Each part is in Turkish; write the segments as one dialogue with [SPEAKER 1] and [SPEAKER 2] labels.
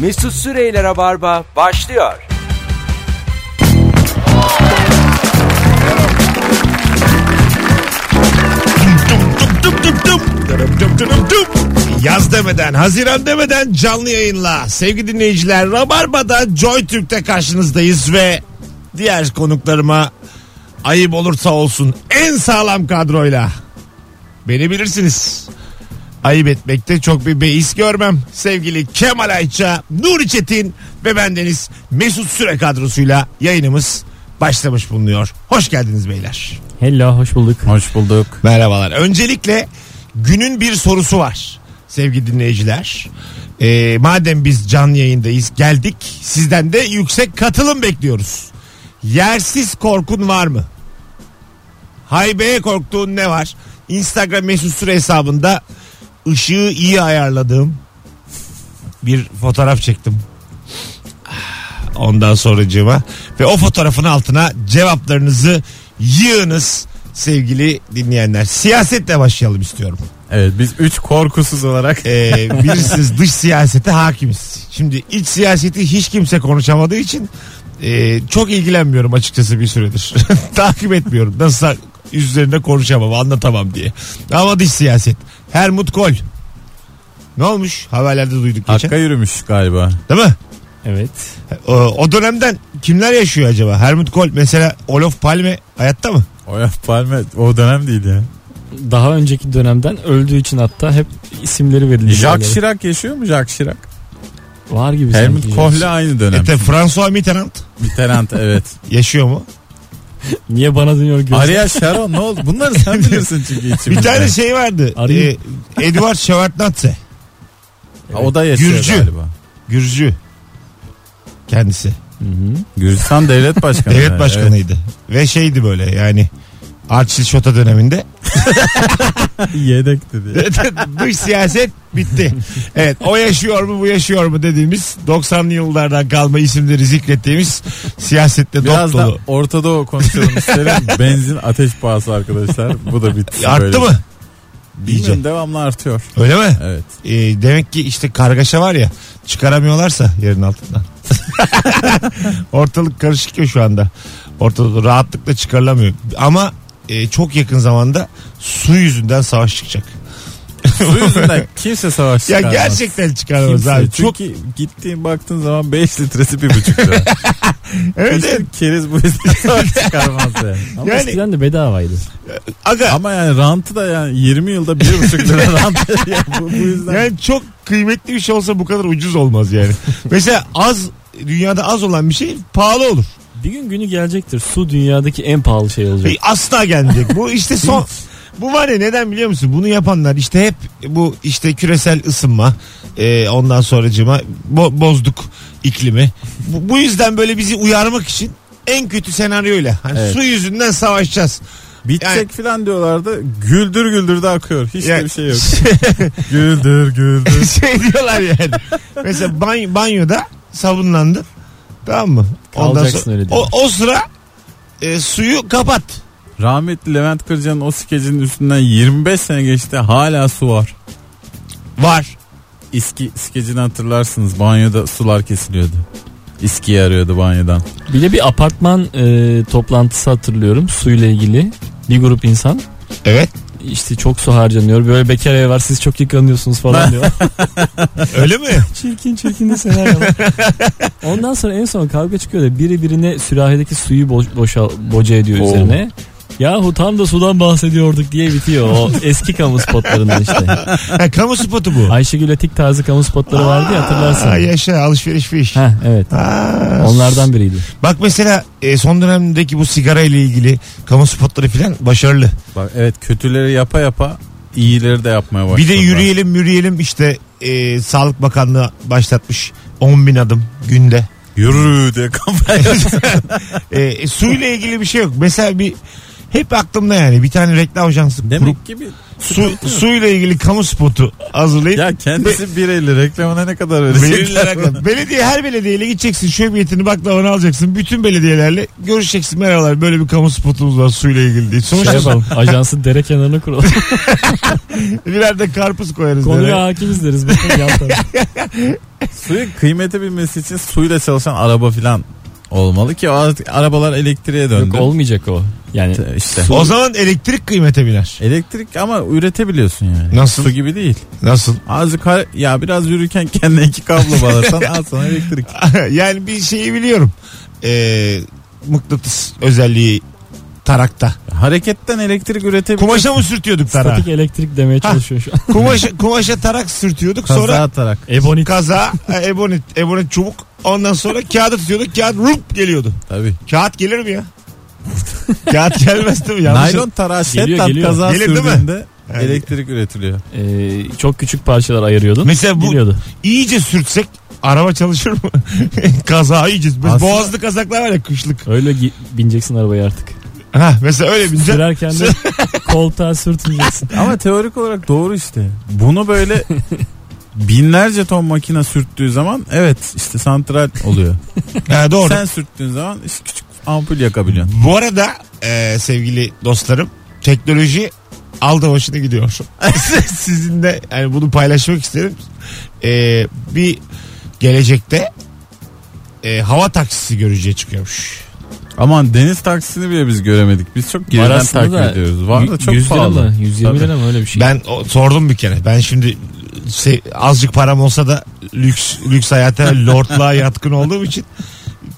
[SPEAKER 1] Mesut Süreyler'e barba başlıyor.
[SPEAKER 2] Dup dup dup. Dırıp dup dırıp dup. Yaz demeden, Haziran demeden canlı yayınla. Sevgili dinleyiciler, Rabarba'da Joy Türk'te karşınızdayız ve diğer konuklarıma ayıp olursa olsun en sağlam kadroyla. Beni bilirsiniz. Ayıp etmekte çok bir beis görmem. Sevgili Kemal Ayça, Nuri Çetin ve bendeniz Mesut Süre kadrosuyla yayınımız başlamış bulunuyor. Hoş geldiniz beyler.
[SPEAKER 3] Hello hoş bulduk.
[SPEAKER 4] Hoş bulduk.
[SPEAKER 2] Merhabalar. Öncelikle günün bir sorusu var sevgili dinleyiciler. Ee, madem biz canlı yayındayız geldik sizden de yüksek katılım bekliyoruz. Yersiz korkun var mı? Haybe'ye korktuğun ne var? Instagram mesut süre hesabında ışığı iyi ayarladığım bir fotoğraf çektim. Ondan sonracığıma ve o fotoğrafın altına cevaplarınızı yığınız sevgili dinleyenler. Siyasetle başlayalım istiyorum.
[SPEAKER 4] Evet biz 3 korkusuz olarak
[SPEAKER 2] Ee, bilirsiniz dış siyasete hakimiz. Şimdi iç siyaseti hiç kimse konuşamadığı için e, çok ilgilenmiyorum açıkçası bir süredir. Takip etmiyorum. Nasıl üzerinde konuşamam anlatamam diye. Ama dış siyaset. Helmut Kohl. Ne olmuş? Haberlerde duyduk geçen.
[SPEAKER 4] Hakka yürümüş galiba.
[SPEAKER 2] Değil mi?
[SPEAKER 3] Evet.
[SPEAKER 2] O, o dönemden kimler yaşıyor acaba? Helmut Kohl mesela Olof Palme hayatta mı?
[SPEAKER 4] O ya Palme o dönem değil ya.
[SPEAKER 3] Daha önceki dönemden öldüğü için hatta hep isimleri verilmiş.
[SPEAKER 4] Jacques Chirac yaşıyor mu Jacques Chirac?
[SPEAKER 3] Var gibi sanki.
[SPEAKER 4] Helmut Kohl'le aynı dönem.
[SPEAKER 2] Ete François Mitterrand
[SPEAKER 4] Mitterrand evet.
[SPEAKER 2] yaşıyor mu?
[SPEAKER 3] Niye bana dönüyor gözü?
[SPEAKER 4] Arya Sharon ne oldu? Bunları sen bilirsin çünkü içimizde.
[SPEAKER 2] Bir tane şey vardı.
[SPEAKER 3] Arayayım.
[SPEAKER 2] Ee, Edward Şevartnadze.
[SPEAKER 4] Ha, O da yaşıyor
[SPEAKER 2] Gürcü.
[SPEAKER 4] galiba.
[SPEAKER 2] Gürcü. Kendisi.
[SPEAKER 3] Hı hı.
[SPEAKER 4] Gürcistan devlet başkanı.
[SPEAKER 2] Devlet başkanıydı. Ve şeydi böyle yani Arçil Şota döneminde
[SPEAKER 4] Evet. Yedekti diye.
[SPEAKER 2] dış siyaset bitti. Evet o yaşıyor mu bu yaşıyor mu dediğimiz 90'lı yıllardan kalma isimleri zikrettiğimiz siyasette
[SPEAKER 4] Biraz
[SPEAKER 2] dop
[SPEAKER 4] da
[SPEAKER 2] dolu.
[SPEAKER 4] Orta Doğu konuşalım isterim. Benzin ateş pahası arkadaşlar. Bu da bitti.
[SPEAKER 2] Arttı
[SPEAKER 4] böyle. şey.
[SPEAKER 2] mı?
[SPEAKER 4] Bilmiyorum, devamlı artıyor.
[SPEAKER 2] Öyle mi?
[SPEAKER 4] Evet.
[SPEAKER 2] Ee, demek ki işte kargaşa var ya çıkaramıyorlarsa yerin altından. Ortalık karışık ya şu anda. Ortalık rahatlıkla çıkarılamıyor. Ama e, çok yakın zamanda su yüzünden savaş çıkacak.
[SPEAKER 4] Bu yüzünden kimse savaş
[SPEAKER 2] Ya
[SPEAKER 4] çıkarmaz.
[SPEAKER 2] gerçekten çıkaramaz
[SPEAKER 4] Kimse.
[SPEAKER 2] abi. Çok
[SPEAKER 4] Çünkü gittiğin baktığın zaman 5 litresi 1,5 lira.
[SPEAKER 2] evet, evet.
[SPEAKER 4] Hiçbir keriz bu yüzden savaş çıkarmaz yani.
[SPEAKER 3] Ama
[SPEAKER 2] Yani-
[SPEAKER 3] eskiden de bedavaydı.
[SPEAKER 2] Aga
[SPEAKER 4] Ama yani rantı da yani 20 yılda 1,5 lira rant. Ya bu, bu yüzden.
[SPEAKER 2] yani çok kıymetli bir şey olsa bu kadar ucuz olmaz yani. Mesela az dünyada az olan bir şey pahalı olur.
[SPEAKER 3] Bir gün günü gelecektir. Su dünyadaki en pahalı şey olacak.
[SPEAKER 2] Ve Asla gelmeyecek. Bu işte son bu var ya neden biliyor musun? Bunu yapanlar işte hep bu işte küresel ısınma e, ondan sonracıma bo- bozduk iklimi. Bu, bu yüzden böyle bizi uyarmak için en kötü senaryoyla hani
[SPEAKER 4] Evet.
[SPEAKER 2] su yüzünden savaşacağız.
[SPEAKER 4] Bitecek
[SPEAKER 2] Yani-
[SPEAKER 4] filan diyorlardı. Güldür güldür de akıyor. Hiç
[SPEAKER 2] Yani-
[SPEAKER 4] de bir şey yok. güldür güldür.
[SPEAKER 2] şey diyorlar yani. Mesela bany- banyoda sabunlandın. Tamam mı?
[SPEAKER 3] Kalacaksın öyle
[SPEAKER 2] o,
[SPEAKER 3] diyorlar.
[SPEAKER 2] o sıra e, suyu kapat.
[SPEAKER 4] Rahmetli Levent Kırca'nın o skecinin üstünden 25 sene geçti. Hala su var.
[SPEAKER 2] Var.
[SPEAKER 4] İski skecini hatırlarsınız. Banyoda sular kesiliyordu. İskiyi arıyordu banyodan.
[SPEAKER 3] Bir de bir apartman e, toplantısı hatırlıyorum suyla ilgili. Bir grup insan
[SPEAKER 2] Evet.
[SPEAKER 3] işte çok su harcanıyor. Böyle bekar ev var siz çok yıkanıyorsunuz falan diyor.
[SPEAKER 2] Öyle mi?
[SPEAKER 3] çirkin çirkin de senaryolar. Ondan sonra en son kavga çıkıyor da biri birine sürahideki suyu bo- boşa boca ediyor
[SPEAKER 4] Oo.
[SPEAKER 3] üzerine. Yahu tam da sudan bahsediyorduk diye bitiyor o eski kamu spotlarından işte.
[SPEAKER 2] Ha, kamu spotu bu.
[SPEAKER 3] Ayşegül Atik tarzı kamu spotları vardı ya hatırlarsın.
[SPEAKER 2] Aa, yaşa alışveriş bir iş.
[SPEAKER 3] Heh, evet.
[SPEAKER 2] Aa,
[SPEAKER 3] Onlardan biriydi.
[SPEAKER 2] Bak mesela e, son dönemdeki bu sigara ile ilgili kamu spotları filan başarılı.
[SPEAKER 4] Bak evet kötüleri yapa yapa iyileri de yapmaya başladı.
[SPEAKER 2] Bir de yürüyelim yürüyelim işte e, Sağlık Bakanlığı başlatmış 10 bin adım günde.
[SPEAKER 4] Yürü diye kampanya.
[SPEAKER 2] E, e, suyla ilgili bir şey yok. Mesela bir hep aklımda yani bir tane reklam ajansı kurup
[SPEAKER 4] Demek ki bir
[SPEAKER 2] su, suyla ilgili kamu spotu hazırlayıp
[SPEAKER 4] ya kendisi bir eli reklamına ne kadar
[SPEAKER 2] Belediyeler
[SPEAKER 4] verecek?
[SPEAKER 2] hakkında. Belediye her belediyeyle gideceksin şöbiyetini baklavanı alacaksın. Bütün belediyelerle görüşeceksin merhabalar böyle bir kamu spotumuz var suyla ilgili diye.
[SPEAKER 3] Şey
[SPEAKER 2] Sonuçta
[SPEAKER 3] yapalım ajansı dere kenarına kuralım.
[SPEAKER 2] birer de karpuz koyarız.
[SPEAKER 3] Konuya
[SPEAKER 2] nereye.
[SPEAKER 3] hakimiz deriz. Bakın yan taraf.
[SPEAKER 4] Suyun kıymeti bilmesi için suyla çalışan araba filan olmalı ki o artık arabalar elektriğe döndü.
[SPEAKER 3] Yok olmayacak o. Yani
[SPEAKER 4] T- işte.
[SPEAKER 2] O zaman elektrik kıymete biner.
[SPEAKER 4] Elektrik ama üretebiliyorsun yani.
[SPEAKER 2] Nasıl?
[SPEAKER 4] Su gibi değil.
[SPEAKER 2] Nasıl?
[SPEAKER 4] Azıcık har- ya biraz yürürken kendine iki kablo bağlasan al sana elektrik.
[SPEAKER 2] yani bir şeyi biliyorum. Ee, mıknatıs özelliği tarakta.
[SPEAKER 4] Hareketten elektrik üretebiliyorsun.
[SPEAKER 2] Kumaşa mı sürtüyorduk tarağı?
[SPEAKER 3] statik elektrik demeye çalışıyor şu an.
[SPEAKER 2] Kumaşa, kumaşa tarak sürtüyorduk.
[SPEAKER 4] Kaza
[SPEAKER 2] Sonra
[SPEAKER 4] atarak.
[SPEAKER 3] Ebonit.
[SPEAKER 2] kaza, e, ebonit, ebonit çubuk. Ondan sonra kağıdı tutuyorduk. Kağıt rup geliyordu.
[SPEAKER 4] Tabii.
[SPEAKER 2] Kağıt gelir mi ya? Kağıt gelmez değil mi? Yanlış-
[SPEAKER 4] Naylon tarağı
[SPEAKER 3] şey- Geliyor,
[SPEAKER 4] şiddet
[SPEAKER 3] geliyor.
[SPEAKER 4] kaza
[SPEAKER 2] Gelir değil mi?
[SPEAKER 4] sürdüğünde
[SPEAKER 2] Yani.
[SPEAKER 4] elektrik üretiliyor.
[SPEAKER 3] Ee, çok küçük parçalar ayırıyordun.
[SPEAKER 2] Mesela bu-
[SPEAKER 3] Geliyordu.
[SPEAKER 2] İyice sürtsek araba çalışır mı? kaza iyice. Biz
[SPEAKER 4] Aslında-
[SPEAKER 2] boğazlı kazaklar var ya kışlık.
[SPEAKER 3] Öyle gi- bineceksin arabaya artık.
[SPEAKER 2] Ha, mesela öyle bineceksin.
[SPEAKER 3] Sürerken de koltuğa sürtüneceksin.
[SPEAKER 4] Ama teorik olarak doğru işte. Bunu böyle binlerce ton makine sürttüğü zaman evet işte santral oluyor.
[SPEAKER 2] Ha, Ee, doğru.
[SPEAKER 4] Sen sürttüğün zaman işte küçük ampul yakabiliyorsun.
[SPEAKER 2] Bu arada e, sevgili dostlarım teknoloji aldı başını gidiyor. Sizin de yani bunu paylaşmak isterim. E, bir gelecekte e, hava taksisi görücüye çıkıyormuş.
[SPEAKER 4] Aman deniz taksisini bile biz göremedik. Biz çok geriden
[SPEAKER 3] Arasında
[SPEAKER 4] takip
[SPEAKER 3] da
[SPEAKER 4] ediyoruz. Var da çok
[SPEAKER 3] 100 lira
[SPEAKER 4] pahalı.
[SPEAKER 3] mı? 120
[SPEAKER 4] Tabii.
[SPEAKER 3] lira mı öyle bir şey?
[SPEAKER 2] Ben o- sordum bir kere. Ben şimdi se- azıcık param olsa da lüks lüks hayata lordluğa yatkın olduğum için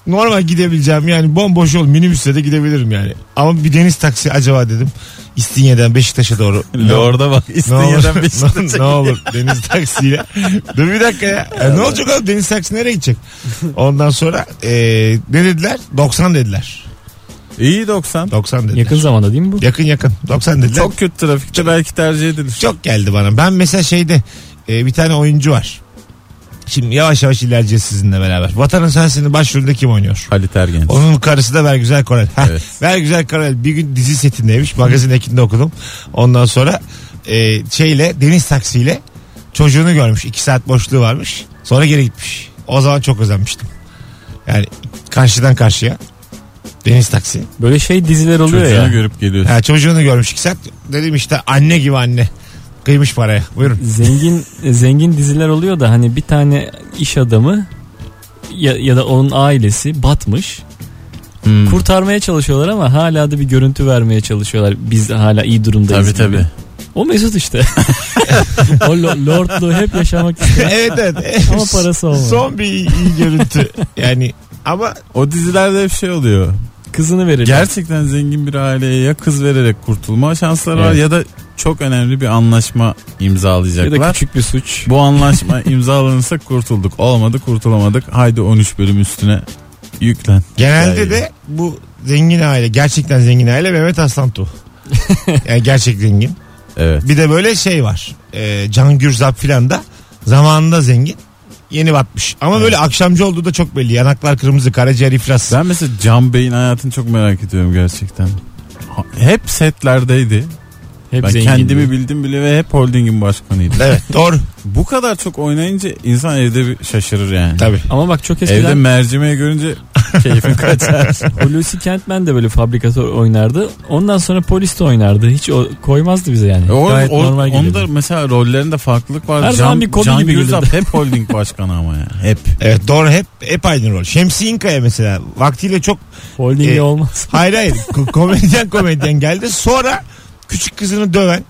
[SPEAKER 2] normal gidebileceğim yani bomboş ol minibüsle de gidebilirim yani. Ama bir deniz taksi acaba dedim. İstinye'den Beşiktaş'a doğru.
[SPEAKER 4] Lorda bak
[SPEAKER 2] Ne olur,
[SPEAKER 4] İstinye'den Beşiktaş'a.
[SPEAKER 2] ne, ne olur deniz taksiyle. Dur bir dakika ya. Ya ne olacak oğlum deniz taksi nereye gidecek? Ondan sonra e, ne dediler? 90 dediler.
[SPEAKER 4] İyi 90.
[SPEAKER 2] 90 dediler.
[SPEAKER 3] Yakın
[SPEAKER 2] Yakın
[SPEAKER 3] zamanda değil mi bu?
[SPEAKER 2] yakın, 90 dediler. Çok,
[SPEAKER 4] Çok kötü trafikte belki tercih edilir.
[SPEAKER 2] çok geldi bana. Ben mesela şeyde e, bir tane oyuncu var. Şimdi yavaş yavaş ilerleyeceğiz sizinle beraber. Vatanın Sensin'in başrolünde kim oynuyor?
[SPEAKER 4] Halit Ergenç.
[SPEAKER 2] Onun karısı da Bergüzar Korel. Heh,
[SPEAKER 4] Evet.
[SPEAKER 2] Bergüzar Korel bir gün dizi setindeymiş. Magazin ekinde okudum. Ondan sonra e, şeyle deniz taksiyle çocuğunu görmüş. İki saat boşluğu varmış. Sonra geri gitmiş. O zaman çok özenmiştim. Yani karşıdan karşıya. Deniz taksi.
[SPEAKER 3] Böyle şey diziler oluyor
[SPEAKER 4] Çocuğunu
[SPEAKER 3] ya.
[SPEAKER 4] görüp geliyorsun.
[SPEAKER 2] Ha, çocuğunu görmüş iki saat. Dedim işte anne gibi anne. Kıymış paraya. Buyurun.
[SPEAKER 3] zengin e, zengin diziler oluyor da hani bir tane iş adamı ya, ya da onun ailesi batmış.
[SPEAKER 4] Hmm.
[SPEAKER 3] Kurtarmaya çalışıyorlar ama hala da bir görüntü vermeye çalışıyorlar. Biz hala iyi durumdayız.
[SPEAKER 4] Tabii
[SPEAKER 3] gibi.
[SPEAKER 4] tabii.
[SPEAKER 3] O Mesut işte. o lo- lordluğu hep yaşamak istiyor.
[SPEAKER 2] evet evet.
[SPEAKER 3] Ama parası olmadı.
[SPEAKER 2] Son bir iyi, iyi görüntü. Yani ama
[SPEAKER 4] O dizilerde hep şey oluyor.
[SPEAKER 3] Kızını verir.
[SPEAKER 4] Gerçekten zengin bir aileye ya kız vererek kurtulma şansları var
[SPEAKER 3] Evet.
[SPEAKER 4] ya da çok önemli bir anlaşma
[SPEAKER 3] ya
[SPEAKER 4] imzalayacaklar.
[SPEAKER 3] da küçük bir suç.
[SPEAKER 4] Bu anlaşma imzalanırsa kurtulduk. Olmadı kurtulamadık. Haydi 13 bölüm üstüne yüklen.
[SPEAKER 2] Genelde
[SPEAKER 4] Yani.
[SPEAKER 2] de bu zengin aile gerçekten zengin aile Mehmet Aslan Tuğ. yani gerçek zengin.
[SPEAKER 4] Evet.
[SPEAKER 2] Bir de böyle şey var. Ee, Can Gürzap filan da zamanında zengin. Yeni batmış. Ama böyle akşamcı olduğu da çok belli. Yanaklar kırmızı, karaciğer iflas.
[SPEAKER 4] Ben mesela Can Bey'in hayatını çok merak ediyorum gerçekten. Ha- Hep setlerdeydi.
[SPEAKER 3] Hep
[SPEAKER 4] ben
[SPEAKER 3] zengin.
[SPEAKER 4] kendimi
[SPEAKER 3] diyor.
[SPEAKER 4] bildim bile ve hep holdingin başkanıydı.
[SPEAKER 2] Evet doğru.
[SPEAKER 4] Bu kadar çok oynayınca insan evde bir şaşırır yani.
[SPEAKER 2] Tabii.
[SPEAKER 3] Ama bak çok
[SPEAKER 4] Evde
[SPEAKER 3] eskiden
[SPEAKER 4] mercimeği görünce keyfin kaçar.
[SPEAKER 3] Hulusi Kentmen de böyle fabrikatör oynardı. Ondan sonra polis de oynardı. Hiç o koymazdı bize yani.
[SPEAKER 4] E o,
[SPEAKER 3] Gayet
[SPEAKER 4] o-
[SPEAKER 3] normal geliyordu.
[SPEAKER 4] Onda mesela rollerinde farklılık var.
[SPEAKER 3] Her zaman bir komedi
[SPEAKER 4] Can
[SPEAKER 3] gibi
[SPEAKER 4] Gürzap hep holding başkanı ama ya. Hep.
[SPEAKER 2] Evet doğru hep hep aynı rol. Şemsi İnkaya mesela vaktiyle çok
[SPEAKER 3] Holding'e
[SPEAKER 2] E,
[SPEAKER 3] olmaz.
[SPEAKER 2] hayır hayır ko- komedyen komedyen geldi. Sonra küçük kızını döven.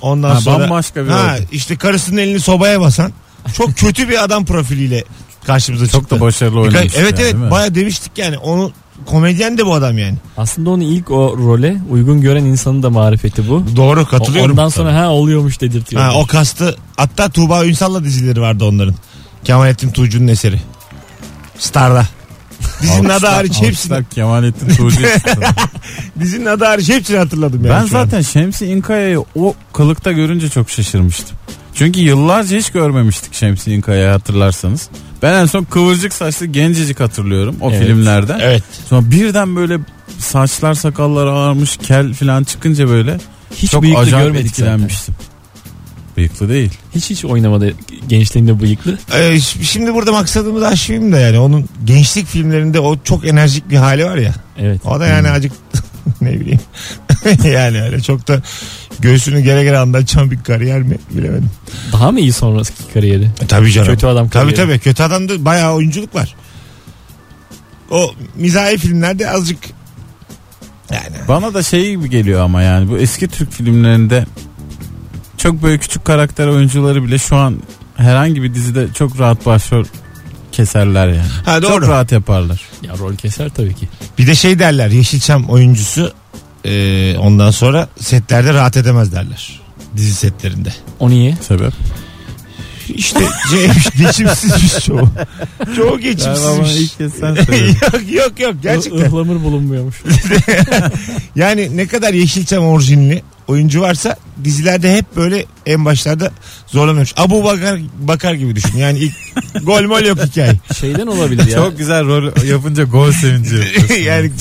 [SPEAKER 2] Ondan
[SPEAKER 4] Ha,
[SPEAKER 2] sonra
[SPEAKER 4] bambaşka bir
[SPEAKER 2] ha,
[SPEAKER 4] rol.
[SPEAKER 2] işte karısının elini sobaya basan. Çok kötü bir adam profiliyle karşımıza
[SPEAKER 4] Çok
[SPEAKER 2] çıktı.
[SPEAKER 4] da
[SPEAKER 3] E,
[SPEAKER 4] başarılı
[SPEAKER 2] Birkaç-
[SPEAKER 4] oynamış.
[SPEAKER 2] evet
[SPEAKER 4] yani, değil
[SPEAKER 2] evet
[SPEAKER 4] mi?
[SPEAKER 2] baya demiştik yani onu komedyen de bu adam yani.
[SPEAKER 3] Aslında onu ilk o role uygun gören insanın da marifeti bu.
[SPEAKER 2] Doğru
[SPEAKER 3] O-
[SPEAKER 2] katılıyorum.
[SPEAKER 3] Ondan sonra ha oluyormuş dedirtiyor.
[SPEAKER 2] ha, o kastı hatta Tuğba Ünsal'la dizileri vardı onların. Kemalettin Tuğcu'nun eseri. Star'da. Dizinin adı
[SPEAKER 4] Alkışlar-
[SPEAKER 2] hariç hepsini,
[SPEAKER 4] alkışlar Kemalettin Tuğcu'yu çıktı.
[SPEAKER 2] dizinin adı hariç hepsini hatırladım yani.
[SPEAKER 4] ben
[SPEAKER 2] şu an.
[SPEAKER 4] zaten Şemsi İnkaya'yı o kılıkta görünce çok şaşırmıştım. Çünkü yıllarca hiç görmemiştik Şemsi İnkaya'yı hatırlarsanız. Ben en son kıvırcık saçlı gencecik hatırlıyorum o
[SPEAKER 3] Evet.
[SPEAKER 4] filmlerden.
[SPEAKER 2] Evet.
[SPEAKER 4] Sonra birden böyle saçlar sakallar ağarmış kel falan çıkınca böyle
[SPEAKER 3] hiç
[SPEAKER 4] çok
[SPEAKER 3] bıyıklı
[SPEAKER 4] acayip
[SPEAKER 3] görmedik zaten.
[SPEAKER 4] etkilenmiştim. Bıyıklı değil.
[SPEAKER 3] Hiç hiç oynamadı gençliğinde bıyıklı.
[SPEAKER 2] Ee, ş- şimdi burada maksadımı da aşmayayım da yani onun gençlik filmlerinde o çok enerjik bir hali var ya.
[SPEAKER 3] Evet.
[SPEAKER 2] O da yani acık ne bileyim. yani öyle çok da Göğsünü gere gere anlatacağım bir kariyer mi bilemedim.
[SPEAKER 3] Daha mı iyi sonraki kariyeri?
[SPEAKER 2] E, tabii canım.
[SPEAKER 3] Kötü adam
[SPEAKER 2] Tabii
[SPEAKER 3] kariyeri.
[SPEAKER 2] tabii kötü adamda bayağı oyunculuk var. O mizahi filmlerde azıcık yani
[SPEAKER 4] Bana da şey gibi geliyor ama yani bu eski Türk filmlerinde çok böyle küçük karakter oyuncuları bile şu an herhangi bir dizide çok rahat başrol keserler yani.
[SPEAKER 2] Ha, doğru.
[SPEAKER 4] Çok rahat yaparlar.
[SPEAKER 3] Ya rol keser tabii ki.
[SPEAKER 2] bir de şey derler Yeşilçam oyuncusu e, ondan sonra setlerde rahat edemez derler. Dizi setlerinde.
[SPEAKER 3] O niye?
[SPEAKER 4] Sebep?
[SPEAKER 2] İşte ce- geçimsizmiş çoğu. Çoğu geçimsizmiş.
[SPEAKER 4] kez sen
[SPEAKER 2] şey. yok yok yok gerçekten.
[SPEAKER 3] Ihlamur bulunmuyormuş.
[SPEAKER 2] Yani ne kadar Yeşilçam orijinli oyuncu varsa dizilerde hep böyle en başlarda zorlanıyormuş. Abu Bakar, Bakar gibi düşün. Yani ilk gol mol yok hikaye.
[SPEAKER 3] Şeyden olabilir ya.
[SPEAKER 4] Çok güzel rol yapınca gol sevinci yapıyorsun.
[SPEAKER 2] yani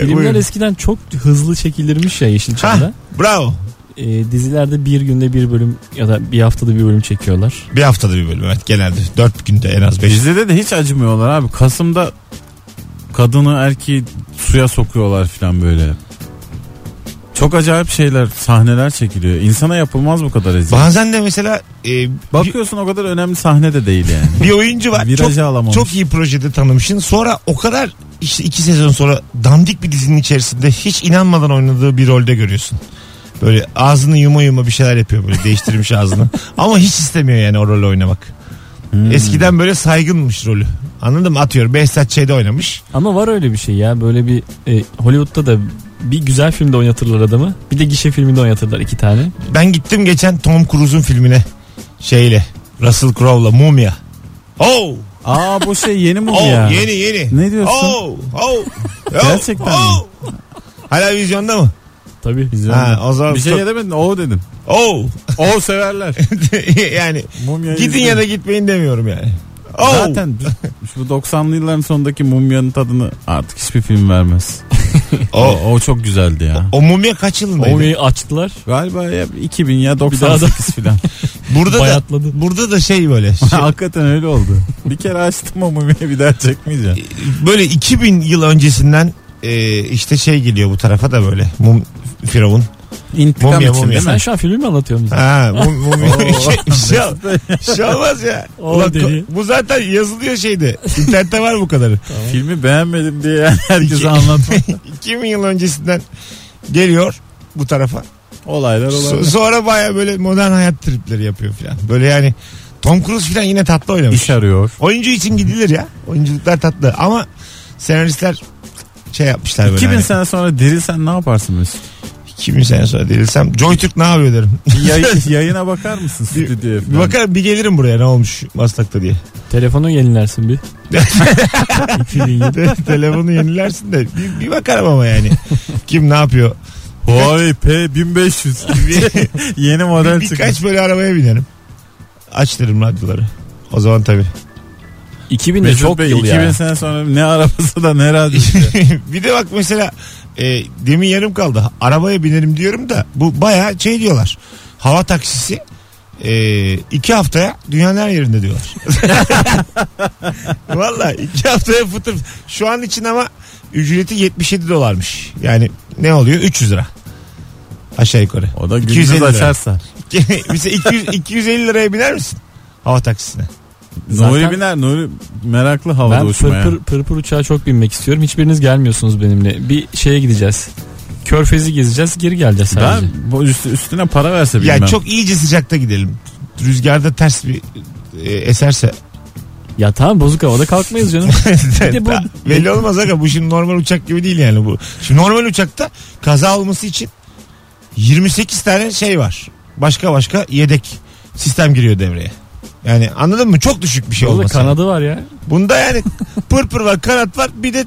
[SPEAKER 3] Filmler
[SPEAKER 2] Buyurun.
[SPEAKER 3] eskiden çok hızlı çekilirmiş ya Yeşilçam'da.
[SPEAKER 2] bravo.
[SPEAKER 3] Ee, dizilerde bir günde bir bölüm ya da bir haftada bir bölüm çekiyorlar.
[SPEAKER 2] Bir haftada bir bölüm evet genelde. Dört günde en az beş.
[SPEAKER 4] Bizde de hiç acımıyorlar abi. Kasım'da kadını erkeği suya sokuyorlar falan böyle. Çok acayip şeyler, sahneler çekiliyor. İnsana yapılmaz bu kadar eziyet.
[SPEAKER 2] Bazen de mesela e, bir,
[SPEAKER 4] Bakıyorsun o kadar önemli sahne de değil yani.
[SPEAKER 2] bir oyuncu var. Çok,
[SPEAKER 4] Virajı alamamış.
[SPEAKER 2] çok iyi projede tanımışsın. Sonra o kadar işte iki sezon sonra dandik bir dizinin içerisinde hiç inanmadan oynadığı bir rolde görüyorsun. Böyle ağzını yuma yuma bir şeyler yapıyor böyle değiştirmiş ağzını. Ama hiç istemiyor yani o rolü oynamak.
[SPEAKER 4] Hmm.
[SPEAKER 2] Eskiden böyle saygınmış rolü. Anladın mı? Atıyor. Behzat Ç'de oynamış.
[SPEAKER 3] Ama var öyle bir şey ya böyle bir e, Hollywood'da da bir güzel filmde oynatırlar adamı. Bir de gişe filminde oynatırlar iki tane.
[SPEAKER 2] Ben gittim geçen Tom Cruise'un filmine. Şeyle. Russell Crowe'la Mumya. Oh!
[SPEAKER 4] Aa bu şey yeni mi bu
[SPEAKER 2] Oh!
[SPEAKER 4] ya?
[SPEAKER 2] Yeni yeni.
[SPEAKER 4] Ne diyorsun?
[SPEAKER 2] Oh! Oh! oh,
[SPEAKER 4] Gerçekten mi?
[SPEAKER 2] oh. Hala vizyonda mı?
[SPEAKER 3] Tabii.
[SPEAKER 2] Ha, o zaman
[SPEAKER 4] Bir şey
[SPEAKER 2] çok-
[SPEAKER 4] yedemedin o dedim.
[SPEAKER 2] Oh!
[SPEAKER 4] O severler.
[SPEAKER 2] yani
[SPEAKER 4] Mumya
[SPEAKER 2] gidin
[SPEAKER 4] yüzünden.
[SPEAKER 2] ya da gitmeyin demiyorum yani. Oh!
[SPEAKER 4] Zaten bu 90'lı yılların sonundaki mumyanın tadını artık hiçbir film vermez. O,
[SPEAKER 2] O,
[SPEAKER 4] o çok güzeldi ya.
[SPEAKER 2] o mumya kaç yılındaydı?
[SPEAKER 3] Omeyi açtılar.
[SPEAKER 4] Galiba ya 2000 ya
[SPEAKER 3] daha da-
[SPEAKER 4] 98 filan.
[SPEAKER 2] Burada da,
[SPEAKER 3] bayatladı.
[SPEAKER 2] burada da şey böyle. şey-
[SPEAKER 4] Hakikaten öyle oldu. Bir kere açtım o mumyayı bir daha çekmeyeceğim.
[SPEAKER 2] böyle 2000 yıl öncesinden e, işte şey geliyor bu tarafa da böyle. Mum, Firavun.
[SPEAKER 4] İntikam
[SPEAKER 2] Mumya,
[SPEAKER 4] için
[SPEAKER 2] mumya.
[SPEAKER 4] değil
[SPEAKER 3] Sen
[SPEAKER 4] mi?
[SPEAKER 3] şu an filmi mi anlatıyorsun bize?
[SPEAKER 2] Ha, bu, bu bir şey, şey, şey olmaz ya.
[SPEAKER 3] O
[SPEAKER 2] Ulan
[SPEAKER 3] deli.
[SPEAKER 2] ko- bu zaten yazılıyor şeyde. İnternette var bu kadarı.
[SPEAKER 4] Filmi beğenmedim diye yani
[SPEAKER 2] İki-
[SPEAKER 4] herkese anlatmak
[SPEAKER 2] 2000 yıl öncesinden geliyor bu tarafa.
[SPEAKER 4] olaylar
[SPEAKER 2] So-
[SPEAKER 4] olabilir.
[SPEAKER 2] sonra baya böyle modern hayat tripleri yapıyor falan. Böyle yani Tom Cruise falan yine tatlı oynamış.
[SPEAKER 4] İş arıyor.
[SPEAKER 2] Oyuncu için gidilir ya. Oyunculuklar tatlı ama senaristler şey yapmışlar böyle.
[SPEAKER 4] 2000
[SPEAKER 2] hani.
[SPEAKER 4] sene sonra dirilsen ne yaparsın Mesut?
[SPEAKER 2] 2000 sene sonra dirilsem Joy Türk ne yapıyor derim.
[SPEAKER 4] Bir yay- yayına bakar mısın stüdyoya
[SPEAKER 2] Bir
[SPEAKER 4] falan?
[SPEAKER 2] bakarım bir gelirim buraya ne olmuş Maslak'ta diye.
[SPEAKER 3] Telefonu yenilersin bir. 2007.
[SPEAKER 2] Te- telefonu yenilersin de bir, bir bakarım ama yani. Kim ne yapıyor?
[SPEAKER 4] Huawei P1500
[SPEAKER 2] Bir-
[SPEAKER 4] yeni model çıkmış.
[SPEAKER 2] birkaç böyle arabaya binerim. Açtırırım radyoları. O zaman tabii.
[SPEAKER 3] 2000 de
[SPEAKER 4] Mesut
[SPEAKER 3] çok
[SPEAKER 4] Bey,
[SPEAKER 3] yıl
[SPEAKER 4] 2000
[SPEAKER 3] ya.
[SPEAKER 4] sene sonra ne arabası da ne radyosu.
[SPEAKER 2] bir de bak mesela e, demin yarım kaldı. Arabaya binerim diyorum da bu bayağı şey diyorlar. Hava taksisi e, iki haftaya dünyanın her yerinde diyorlar. Valla iki haftaya fıtır. Şu an için ama ücreti 77 dolarmış. Yani ne oluyor? 300 lira. Aşağı yukarı.
[SPEAKER 4] O da
[SPEAKER 2] 250
[SPEAKER 4] gündüz
[SPEAKER 2] lira.
[SPEAKER 4] açarsa.
[SPEAKER 2] Mesela 200, 250 liraya biner misin? Hava taksisine.
[SPEAKER 3] Zaten-
[SPEAKER 4] Nuri biner. Nuri meraklı havada
[SPEAKER 3] Ben
[SPEAKER 4] uçmaya.
[SPEAKER 3] pırpır pırpır uçağa çok binmek istiyorum. Hiçbiriniz gelmiyorsunuz benimle. Bir şeye gideceğiz. Körfezi gezeceğiz, geri geleceğiz sadece.
[SPEAKER 4] Ben bu üstü- üstüne para verse
[SPEAKER 2] Ya
[SPEAKER 4] bilmem.
[SPEAKER 2] çok iyice sıcakta gidelim. Rüzgarda ters bir e, eserse.
[SPEAKER 3] Ya tamam bozuk havada kalkmayız canım. Bir de bu-
[SPEAKER 2] Daha Belli olmaz aga bu şimdi normal uçak gibi değil yani bu. Şimdi normal uçakta kaza olması için 28 tane şey var. Başka başka yedek sistem giriyor devreye. Yani anladın mı? Çok düşük bir şey
[SPEAKER 3] Orada
[SPEAKER 2] olması.
[SPEAKER 3] kanadı var ya.
[SPEAKER 2] Bunda yani pırpır var, kanat var. Bir de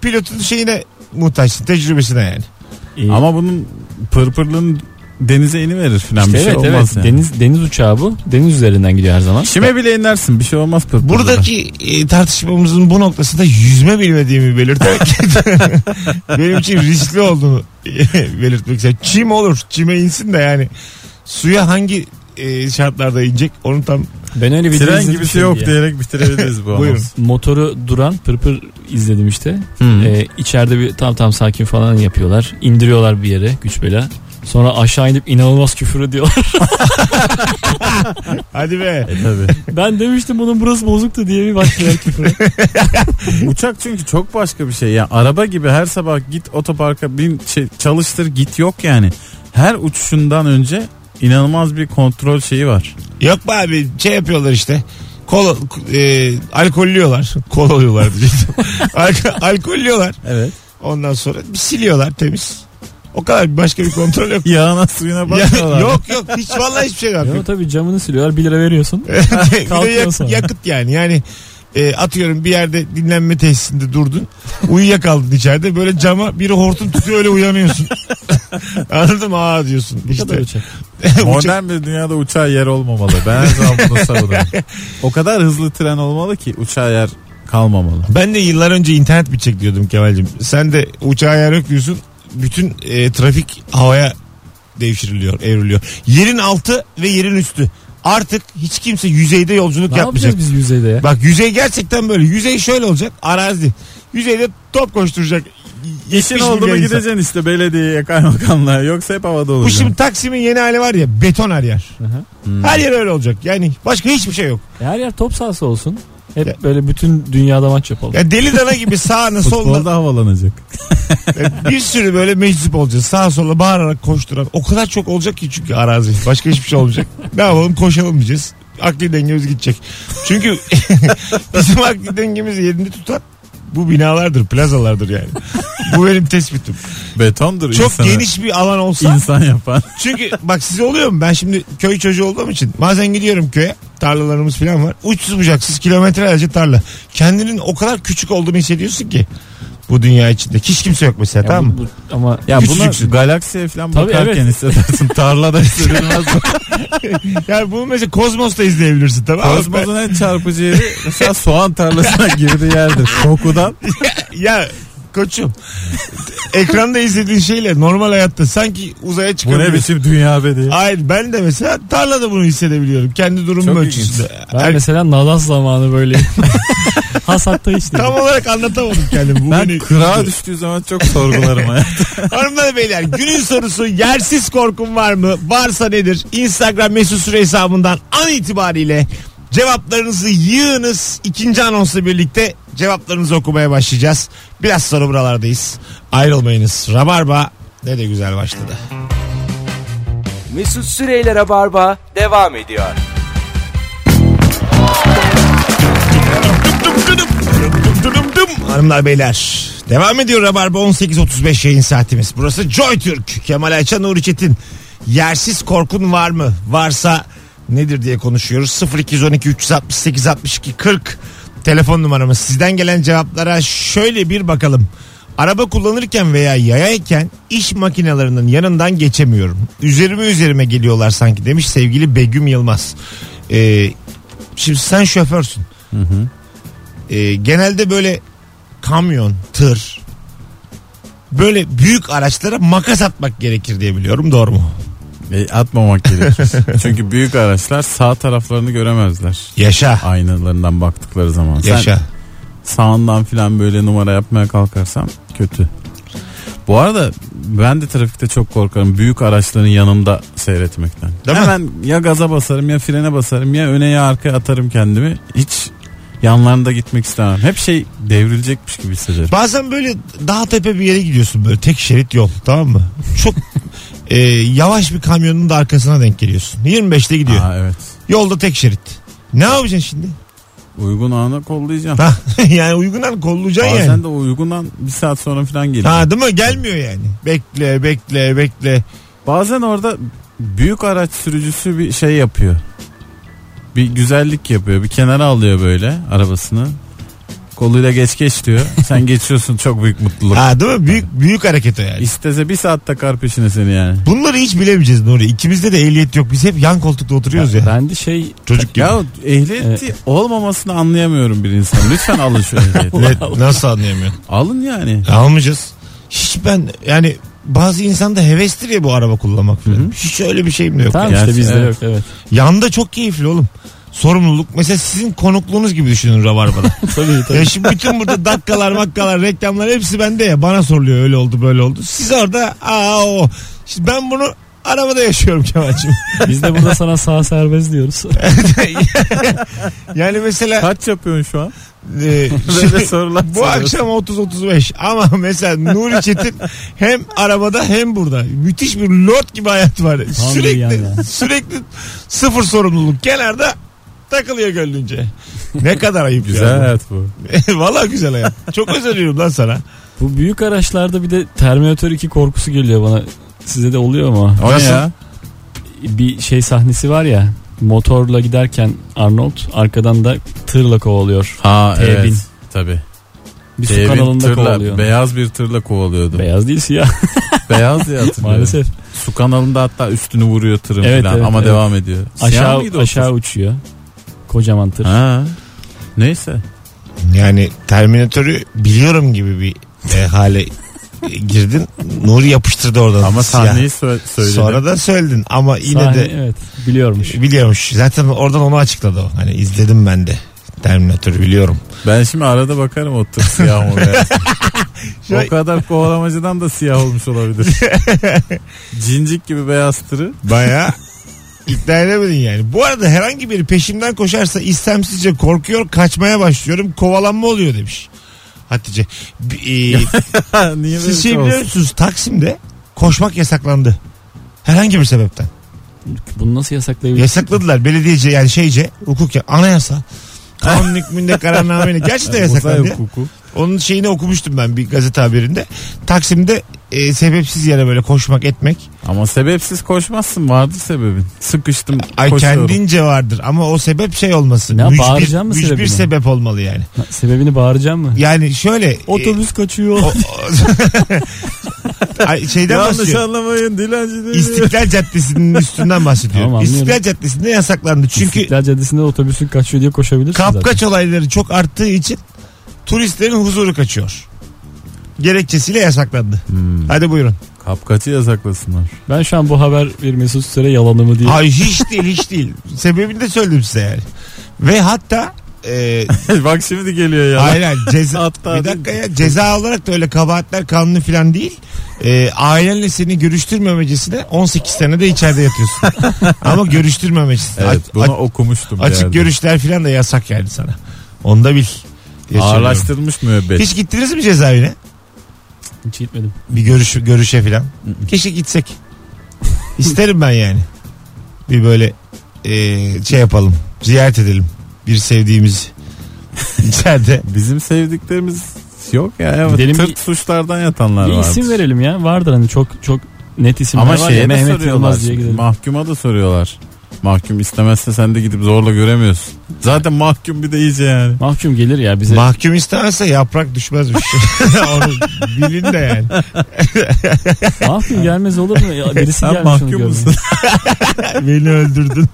[SPEAKER 2] pilotun şeyine muhtaçsın, tecrübesine yani.
[SPEAKER 3] İyi.
[SPEAKER 4] Ama bunun pırpırlığın denize iniverir falan
[SPEAKER 3] İşte
[SPEAKER 4] bir şey
[SPEAKER 3] evet
[SPEAKER 4] olmaz
[SPEAKER 3] evet
[SPEAKER 4] yani.
[SPEAKER 3] deniz deniz uçağı bu. Deniz üzerinden gidiyor her zaman.
[SPEAKER 4] Kime bile inersin bir şey olmaz pırpırda.
[SPEAKER 2] Buradaki e, tartışmamızın bu noktasında yüzme bilmediğimi belirterek benim için riskli olduğunu belirtmek istedim. Çim olur. Çime insin de yani suya hangi e, şartlarda inecek onu tam
[SPEAKER 3] Ben öyle bir
[SPEAKER 4] Tren
[SPEAKER 3] deniz
[SPEAKER 4] gibi şey
[SPEAKER 3] izlemiştim
[SPEAKER 4] yok
[SPEAKER 3] diye.
[SPEAKER 4] diyerek bitirebiliriz bu
[SPEAKER 2] Buyurun.
[SPEAKER 4] anonsu.
[SPEAKER 3] Motoru duran pırpır izledim işte.
[SPEAKER 4] Hı.
[SPEAKER 3] Ee, içeride bir tam tam sakin falan yapıyorlar. İndiriyorlar bir yere güç bela. Sonra aşağı inip inanılmaz küfür ediyorlar.
[SPEAKER 2] Hadi be.
[SPEAKER 4] E tabi.
[SPEAKER 3] ben demiştim bunun burası bozuktu diye bir başlıyorlar küfüre.
[SPEAKER 4] Uçak çünkü çok başka bir şey. Yani araba gibi her sabah git otoparka bin şey- çalıştır git yok yani. Her uçuşundan önce inanılmaz bir kontrol şeyi var.
[SPEAKER 2] Yok be abi şey yapıyorlar işte. Kol, e, alkollüyorlar. Kol oluyorlar diyecektim. Alko- alkollüyorlar.
[SPEAKER 4] Evet.
[SPEAKER 2] Ondan sonra bir siliyorlar temiz. O kadar başka bir kontrol yok.
[SPEAKER 4] Yağına suyuna
[SPEAKER 2] Ya-
[SPEAKER 4] bakmıyorlar.
[SPEAKER 2] yok yok hiç vallahi hiçbir şey yok.
[SPEAKER 3] Yo, tabii camını siliyorlar 1 lira veriyorsun.
[SPEAKER 2] bir de
[SPEAKER 3] Kalkıyor
[SPEAKER 2] yak-
[SPEAKER 3] sonra.
[SPEAKER 2] yakıt yani. Yani e, atıyorum bir yerde dinlenme tesisinde durdun. Uyuyakaldın içeride. Böyle cama biri hortum tutuyor öyle uyanıyorsun. Anladın mı? Aa diyorsun.
[SPEAKER 3] Ne kadar
[SPEAKER 2] İşte.
[SPEAKER 3] uçak?
[SPEAKER 2] Uçak-
[SPEAKER 4] Modern bir dünyada uçağa yer olmamalı. Ben her zaman bunu savunuyorum. O kadar hızlı tren olmalı ki uçağa yer kalmamalı.
[SPEAKER 2] ben de yıllar önce internet bitecek diyordum Kemal'cim. Sen de uçağa yer yok diyorsun. Bütün e, trafik havaya devşiriliyor, evriliyor. Yerin altı ve yerin üstü. Artık hiç kimse yüzeyde yolculuk
[SPEAKER 3] Ne
[SPEAKER 2] yapmayacak.
[SPEAKER 3] yapacağız biz yüzeyde ya?
[SPEAKER 2] Bak yüzey gerçekten böyle. Yüzey şöyle olacak. Arazi. Yüzeyde top koşturacak.
[SPEAKER 4] İşin
[SPEAKER 2] yetmiş
[SPEAKER 4] oldu mu
[SPEAKER 2] milyon insan.
[SPEAKER 4] gideceksin işte belediyeye kaymakamlığa yoksa hep havada
[SPEAKER 2] Bu
[SPEAKER 4] olacaksın.
[SPEAKER 2] şimdi Taksim'in yeni hali var ya beton her yer.
[SPEAKER 3] Aha.
[SPEAKER 2] Her yer öyle olacak. Yani başka hiçbir şey yok.
[SPEAKER 3] Her yer top sahası olsun. Hep
[SPEAKER 2] Ya.
[SPEAKER 3] böyle bütün dünyada maç yapalım.
[SPEAKER 2] Ya deli dana gibi sağına soluna
[SPEAKER 4] Futbolda havalanacak.
[SPEAKER 2] e, bir sürü böyle meczup olacağız. Sağa sola bağırarak koşturan. O kadar çok olacak ki çünkü arazi. Başka hiçbir şey olmayacak. ne yapalım koşalım diyeceğiz. Akli dengemiz gidecek. Çünkü bizim akli dengemizi yerinde tutan bu binalardır, plazalardır yani. bu benim tespitim.
[SPEAKER 4] Betondur
[SPEAKER 2] Çok
[SPEAKER 4] insanı.
[SPEAKER 2] geniş bir alan olsa
[SPEAKER 4] insan yapan.
[SPEAKER 2] Çünkü bak size oluyor mu? Ben şimdi köy çocuğu olduğum için bazen gidiyorum köye. Tarlalarımız falan var. Uçsuz bucaksız kilometrelerce tarla. Kendinin o kadar küçük olduğunu hissediyorsun ki bu dünya içinde. Hiç kimse yok mesela
[SPEAKER 3] Ya
[SPEAKER 2] tamam
[SPEAKER 3] bu-
[SPEAKER 2] mı?
[SPEAKER 3] bu- ama
[SPEAKER 4] Ya
[SPEAKER 2] Küçücüksün.
[SPEAKER 4] bunu galaksiye falan
[SPEAKER 3] Tabii,
[SPEAKER 4] bakarken
[SPEAKER 3] evet.
[SPEAKER 4] hissedersin. Tarlada hissedilmez.
[SPEAKER 2] Yani bunu mesela Kozmos'ta izleyebilirsin tamam mı?
[SPEAKER 4] Kozmos'un en çarpıcı yeri mesela soğan tarlasına girdiği yerdir. Kokudan.
[SPEAKER 2] Ben- ya koçum. ekranda izlediğin şeyle normal hayatta sanki uzaya
[SPEAKER 4] Bu
[SPEAKER 2] çıkabiliyorsun.
[SPEAKER 4] ne biçim dünya be diye.
[SPEAKER 2] Hayır ben de mesela tarlada bunu hissedebiliyorum. Kendi durumum
[SPEAKER 4] Çok
[SPEAKER 2] ölçüsünde.
[SPEAKER 3] ben
[SPEAKER 2] Yani
[SPEAKER 3] mesela Nadas zamanı böyle hasatta işte.
[SPEAKER 2] tam olarak anlatamadım kendimi. Bu
[SPEAKER 4] Ben
[SPEAKER 2] beni-
[SPEAKER 4] kırağa düştüğü zaman çok sorgularım hayatım.
[SPEAKER 2] Hanımlar beyler günün sorusu yersiz korkum var mı? Varsa nedir? Instagram mesut süre hesabından an itibariyle cevaplarınızı yığınız. İkinci anonsla birlikte cevaplarınızı okumaya başlayacağız. Biraz sonra buralardayız. Ayrılmayınız. Rabarba ne de güzel başladı.
[SPEAKER 1] Mesut Süreyler'e barba devam ediyor.
[SPEAKER 2] Hanımlar beyler devam ediyor Rabarba 18.35 yayın saatimiz. Burası Joy Türk. Kemal Ayça Nuri Çetin. Yersiz korkun var mı? Varsa nedir diye konuşuyoruz. 0212 368 62 40 telefon numaramız. Sizden gelen cevaplara şöyle bir bakalım. Araba kullanırken veya yayayken iş makinelerinin yanından geçemiyorum. Üzerime üzerime geliyorlar sanki demiş sevgili Begüm Yılmaz. Ee, şimdi sen şoförsün. Ee, genelde böyle kamyon, tır böyle büyük araçlara makas atmak gerekir diye biliyorum doğru mu?
[SPEAKER 4] E, atmamak gerekir. Çünkü büyük araçlar sağ taraflarını göremezler.
[SPEAKER 2] Yaşa.
[SPEAKER 4] Aynalarından baktıkları zaman. Sen
[SPEAKER 2] Yaşa.
[SPEAKER 4] sağından filan böyle numara yapmaya kalkarsam kötü. Bu arada ben de trafikte çok korkarım büyük araçların yanımda seyretmekten.
[SPEAKER 2] Değil mi?
[SPEAKER 4] Hemen ya gaza basarım ya frene basarım ya öne ya arkaya atarım kendimi. Hiç yanlarında gitmek istemem. Hep şey devrilecekmiş gibi hissederim.
[SPEAKER 2] Bazen böyle dağ tepe bir yere gidiyorsun böyle tek şerit yol tamam mı? Çok e, yavaş bir kamyonun da arkasına denk geliyorsun. 25'te gidiyor.
[SPEAKER 4] Aa, evet.
[SPEAKER 2] Yolda tek şerit. Ne yapacaksın şimdi?
[SPEAKER 4] Uygun ana kollayacağım.
[SPEAKER 2] Ha, yani uygun an kollayacaksın
[SPEAKER 4] Bazen
[SPEAKER 2] yani.
[SPEAKER 4] de o uygun an bir saat sonra falan geliyor.
[SPEAKER 2] Ha değil mi? Gelmiyor yani. Bekle bekle bekle.
[SPEAKER 4] Bazen orada büyük araç sürücüsü bir şey yapıyor. Bir güzellik yapıyor. Bir kenara alıyor böyle arabasını. Koluyla geç geç diyor. Sen geçiyorsun çok büyük mutluluk.
[SPEAKER 2] Ha değil mi? Büyük büyük hareket o yani.
[SPEAKER 4] İstese bir saat takar peşine seni yani.
[SPEAKER 2] Bunları hiç bilemeyeceğiz Nuri. İkimizde de ehliyet yok. Biz hep yan koltukta oturuyoruz ya.
[SPEAKER 3] Ben de şey
[SPEAKER 2] Çocuk gibi.
[SPEAKER 4] Ya ehliyeti olmamasını anlayamıyorum bir insan. Lütfen alın şu ehliyeti.
[SPEAKER 2] Ne- nasıl anlayamıyorum? E,
[SPEAKER 4] alın yani.
[SPEAKER 2] Almayacağız. Hiç ben yani bazı insanda hevestir ya bu araba kullanmak falan. Hiç öyle bir şeyim de yok.
[SPEAKER 3] tamam
[SPEAKER 2] yani.
[SPEAKER 4] Gerçi
[SPEAKER 3] işte bizde
[SPEAKER 4] evet.
[SPEAKER 3] yok evet.
[SPEAKER 2] Yanda çok keyifli oğlum. Sorumluluk. Mesela sizin konukluğunuz gibi düşünün Rabarba'da.
[SPEAKER 3] Tabii tabii.
[SPEAKER 2] ya şimdi bütün burada dakikalar makkalar reklamlar hepsi bende ya. Bana soruluyor öyle oldu böyle oldu. Siz orada aa o Şimdi ben bunu arabada yaşıyorum Kemal'cim.
[SPEAKER 3] Biz de burada sana sağ serbest diyoruz.
[SPEAKER 2] yani mesela
[SPEAKER 4] Kaç yapıyorsun şu an?
[SPEAKER 2] e,
[SPEAKER 4] Böyle sorular
[SPEAKER 2] Bu
[SPEAKER 4] soruyorsun.
[SPEAKER 2] akşam 30-35 ama mesela Nuri Çetin hem arabada hem burada. Müthiş bir lord gibi hayat var.
[SPEAKER 3] yani.
[SPEAKER 2] Sürekli sürekli sıfır sorumluluk. Kenarda takılıyor gönlünce. Ne kadar ayıp
[SPEAKER 4] Güzel
[SPEAKER 2] ya.
[SPEAKER 4] hayat bu.
[SPEAKER 2] Güzel. Valla güzel hayat. Çok özeniyorum lan sana.
[SPEAKER 3] Bu büyük araçlarda bir de Terminator 2 korkusu geliyor bana. Size de oluyor mu?
[SPEAKER 4] O ne
[SPEAKER 2] Nasıl?
[SPEAKER 4] ya?
[SPEAKER 3] Bir şey sahnesi var ya. Motorla giderken Arnold arkadan da tırla kovalıyor.
[SPEAKER 4] Ha
[SPEAKER 3] T bin.
[SPEAKER 4] evet. Tabii.
[SPEAKER 3] Bir su
[SPEAKER 4] T bin
[SPEAKER 3] kanalında
[SPEAKER 4] tırla,
[SPEAKER 3] kovalıyor.
[SPEAKER 4] Beyaz bir tırla kovalıyordu.
[SPEAKER 3] Beyaz değil siyah
[SPEAKER 4] beyaz diye hatırlıyorum.
[SPEAKER 3] maalesef.
[SPEAKER 4] Su kanalında hatta üstünü vuruyor tırın
[SPEAKER 3] Evet,
[SPEAKER 4] falan
[SPEAKER 3] evet,
[SPEAKER 4] ama
[SPEAKER 3] evet.
[SPEAKER 4] devam ediyor. Siyah mıydı
[SPEAKER 3] Aşağı
[SPEAKER 4] o
[SPEAKER 3] aşağı uçuyor. Kocaman tır.
[SPEAKER 4] tır? Ha. Neyse.
[SPEAKER 2] Yani Terminatör'ü biliyorum gibi bir e, hale girdin. Nuri yapıştırdı oradan.
[SPEAKER 4] Ama
[SPEAKER 2] Siyah.
[SPEAKER 4] sahneyi sö- söyledi.
[SPEAKER 2] Sonra da söyledin ama yine
[SPEAKER 3] Sahne,
[SPEAKER 2] de
[SPEAKER 3] evet biliyormuş.
[SPEAKER 2] biliyormuş. Zaten oradan onu açıkladı o. Hani izledim ben de. Terminatör'ü biliyorum.
[SPEAKER 4] Ben şimdi arada bakarım o tır siyah mı beyaz mı?
[SPEAKER 2] Şu an-
[SPEAKER 4] O kadar kovalamacıdan da siyah olmuş olabilir. Cincik gibi beyaz tırı.
[SPEAKER 2] Baya ikna edemedin yani. Bu arada herhangi biri peşimden koşarsa istemsizce korkuyor kaçmaya başlıyorum kovalanma oluyor demiş. Hatice. B- e,
[SPEAKER 4] Niye böyle
[SPEAKER 2] siz şey
[SPEAKER 4] bir şey
[SPEAKER 2] biliyor
[SPEAKER 4] olsun?
[SPEAKER 2] musunuz? Taksim'de koşmak yasaklandı. Herhangi bir sebepten.
[SPEAKER 3] Bunu nasıl yasaklayabilir?
[SPEAKER 2] Yasakladılar belediyece yani şeyce hukuk ya anayasa. Kanun hükmünde kararnameyle gerçekten
[SPEAKER 4] Uzay
[SPEAKER 2] yasaklandı.
[SPEAKER 4] hukuku.
[SPEAKER 2] Onun şeyini okumuştum ben bir gazete haberinde. Taksim'de e, sebepsiz yere böyle koşmak etmek.
[SPEAKER 4] Ama sebepsiz koşmazsın vardır sebebin. Sıkıştım
[SPEAKER 2] Ay
[SPEAKER 4] koşuyorum.
[SPEAKER 2] kendince vardır ama o sebep şey olmasın.
[SPEAKER 3] Ne,
[SPEAKER 2] Mücbir-
[SPEAKER 3] bağıracağım mı
[SPEAKER 2] mücbir
[SPEAKER 3] sebebini?
[SPEAKER 2] sebep olmalı yani.
[SPEAKER 3] Ha, Sebebini bağıracağım mı?
[SPEAKER 2] Yani şöyle e,
[SPEAKER 3] Otobüs kaçıyor.
[SPEAKER 2] o- ay, şeyden
[SPEAKER 4] Yanlış
[SPEAKER 2] bahsediyorum.
[SPEAKER 4] anlamayın dilenci değil.
[SPEAKER 2] İstiklal Caddesi'nin üstünden bahsediyorum.
[SPEAKER 3] Tamam, anlıyorum.
[SPEAKER 2] İstiklal Caddesi'nde yasaklandı. Çünkü
[SPEAKER 3] İstiklal Caddesi'nde otobüsün kaçıyor diye koşabilirsin zaten.
[SPEAKER 2] kapkaç olayları çok arttığı için turistlerin huzuru kaçıyor. Gerekçesiyle yasaklandı.
[SPEAKER 4] Hmm.
[SPEAKER 2] Hadi buyurun.
[SPEAKER 4] Kapkaçı yasaklasınlar.
[SPEAKER 3] Ben şu an bu haber bir Mesut Süre yalanı mı diye.
[SPEAKER 2] Ay hiç değil hiç değil. Sebebini de söyledim size yani. Ve hatta e,
[SPEAKER 4] Bak şimdi geliyor ya.
[SPEAKER 2] Aynen ceza.
[SPEAKER 4] Hatta
[SPEAKER 2] bir dakika ya ceza olarak da öyle kabahatler kanunu falan değil. Ee, ailenle seni görüştürmemecesine 18 sene de içeride yatıyorsun. Ama görüştürmemecesine.
[SPEAKER 4] Evet
[SPEAKER 2] A-
[SPEAKER 4] bunu
[SPEAKER 2] a-
[SPEAKER 4] okumuştum. bir
[SPEAKER 2] açık
[SPEAKER 4] yerde.
[SPEAKER 2] görüşler falan da yasak yani sana. Onu da bil. diye söylüyorum.
[SPEAKER 4] Ağırlaştırılmış müebbet.
[SPEAKER 2] Hiç gittiniz mi cezaevine?
[SPEAKER 3] Hiç gitmedim.
[SPEAKER 2] Bir görüş, görüşe falan. Keşke gitsek. İsterim ben yani. Bir böyle e, şey yapalım. Ziyaret edelim. Bir sevdiğimiz içeride.
[SPEAKER 4] Bizim sevdiklerimiz yok ya. Evet,
[SPEAKER 3] Gidelim
[SPEAKER 4] tırt
[SPEAKER 3] bir-
[SPEAKER 4] suçlardan yatanlar
[SPEAKER 3] Bir
[SPEAKER 4] var.
[SPEAKER 3] isim verelim ya. Vardır hani çok çok net isimler
[SPEAKER 4] Ama
[SPEAKER 3] var
[SPEAKER 4] şeye
[SPEAKER 3] ya.
[SPEAKER 4] de
[SPEAKER 3] Mehmet
[SPEAKER 4] soruyorlar.
[SPEAKER 3] Yılmaz diye
[SPEAKER 4] şimdi,
[SPEAKER 3] gidelim.
[SPEAKER 4] Mahkuma da soruyorlar. Mahkum istemezse sen de gidip zorla göremiyorsun. Zaten mahkum bir de iyice yani.
[SPEAKER 3] Mahkum gelir ya bize.
[SPEAKER 2] Mahkum istemezse yaprak düşmezmiş. Onu bilin de yani.
[SPEAKER 3] mahkum gelmez olur mu? Ya birisi
[SPEAKER 4] Sen
[SPEAKER 3] gelmiş onu
[SPEAKER 4] mahkum
[SPEAKER 3] görmeye.
[SPEAKER 4] musun?
[SPEAKER 2] Beni öldürdün.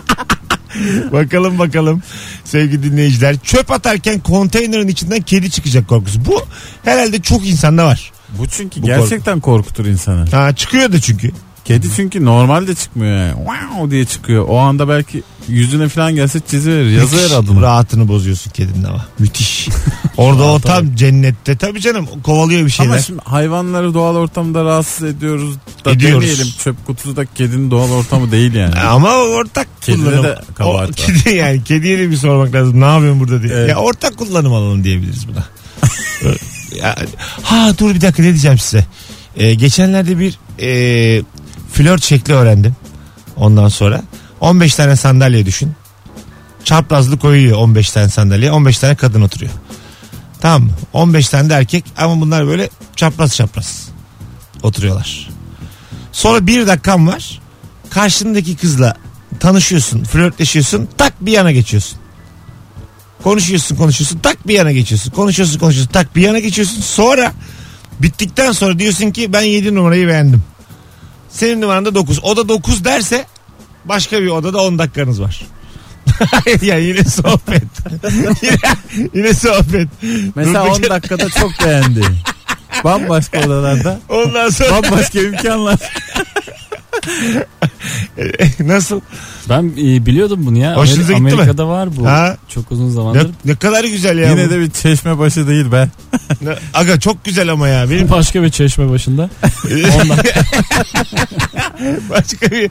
[SPEAKER 2] bakalım bakalım sevgili dinleyiciler. Çöp atarken konteynerin içinden kedi çıkacak korkusu. Bu herhalde çok insanda var.
[SPEAKER 4] Bu çünkü
[SPEAKER 2] Bu
[SPEAKER 4] gerçekten korkutur insanı.
[SPEAKER 2] Ha, çıkıyor da çünkü.
[SPEAKER 4] Kedi çünkü normalde çıkmıyor yani. Wow diye çıkıyor. O anda belki yüzüne falan gelse çiziverir. Yazıver
[SPEAKER 2] Müthiş.
[SPEAKER 4] adını.
[SPEAKER 2] Rahatını bozuyorsun kedinin ama. Müthiş. Orada o tam cennette. Tabii canım kovalıyor bir şeyler.
[SPEAKER 4] Ama şimdi hayvanları doğal ortamda rahatsız ediyoruz da
[SPEAKER 2] Ediyoruz.
[SPEAKER 4] demeyelim. Çöp kutusundaki kedinin doğal ortamı değil yani.
[SPEAKER 2] Ama ortak
[SPEAKER 4] Kedide
[SPEAKER 2] kullanım.
[SPEAKER 4] de
[SPEAKER 2] O-
[SPEAKER 4] kabahat var.
[SPEAKER 2] kedi yani kediye de bir sormak lazım. Ne yapıyorsun burada diye.
[SPEAKER 4] Evet.
[SPEAKER 2] Ya ortak kullanım alalım diyebiliriz buna. ya, ha dur bir dakika ne diyeceğim size. Ee, geçenlerde bir e, flört şekli öğrendim. Ondan sonra 15 tane sandalye düşün. Çaprazlı koyuyor 15 tane sandalye. 15 tane kadın oturuyor. Tamam mı? 15 tane de erkek ama bunlar böyle çapraz çapraz oturuyorlar. Sonra bir dakikan var. Karşındaki kızla tanışıyorsun, flörtleşiyorsun, tak bir yana geçiyorsun. Konuşuyorsun, konuşuyorsun, tak bir yana geçiyorsun. Konuşuyorsun, konuşuyorsun, tak bir yana geçiyorsun. Sonra bittikten sonra diyorsun ki ben 7 numarayı beğendim. Senin numaran da 9. O da 9 derse başka bir odada 10 dakikanız var. ya yine sohbet. yine, yine sohbet.
[SPEAKER 4] Mesela
[SPEAKER 2] Durduk
[SPEAKER 4] 10
[SPEAKER 2] yere-
[SPEAKER 4] dakikada çok beğendi. Bambaşka odalarda
[SPEAKER 2] Ondan sonra
[SPEAKER 4] bambaşka imkanlar.
[SPEAKER 2] Nasıl?
[SPEAKER 3] Ben e, biliyordum bunu ya.
[SPEAKER 2] Hoşunuza gitti mi?
[SPEAKER 3] Amerika'da var bu.
[SPEAKER 2] Ha?
[SPEAKER 3] Çok uzun
[SPEAKER 2] Ne,
[SPEAKER 3] zamandır.
[SPEAKER 2] ne kadar güzel ya.
[SPEAKER 4] Yine
[SPEAKER 2] bu.
[SPEAKER 4] de bir çeşme başı değil be.
[SPEAKER 2] Ne- Aga çok güzel ama ya. Benim
[SPEAKER 3] Başka bir çeşme başında.
[SPEAKER 2] başka bir...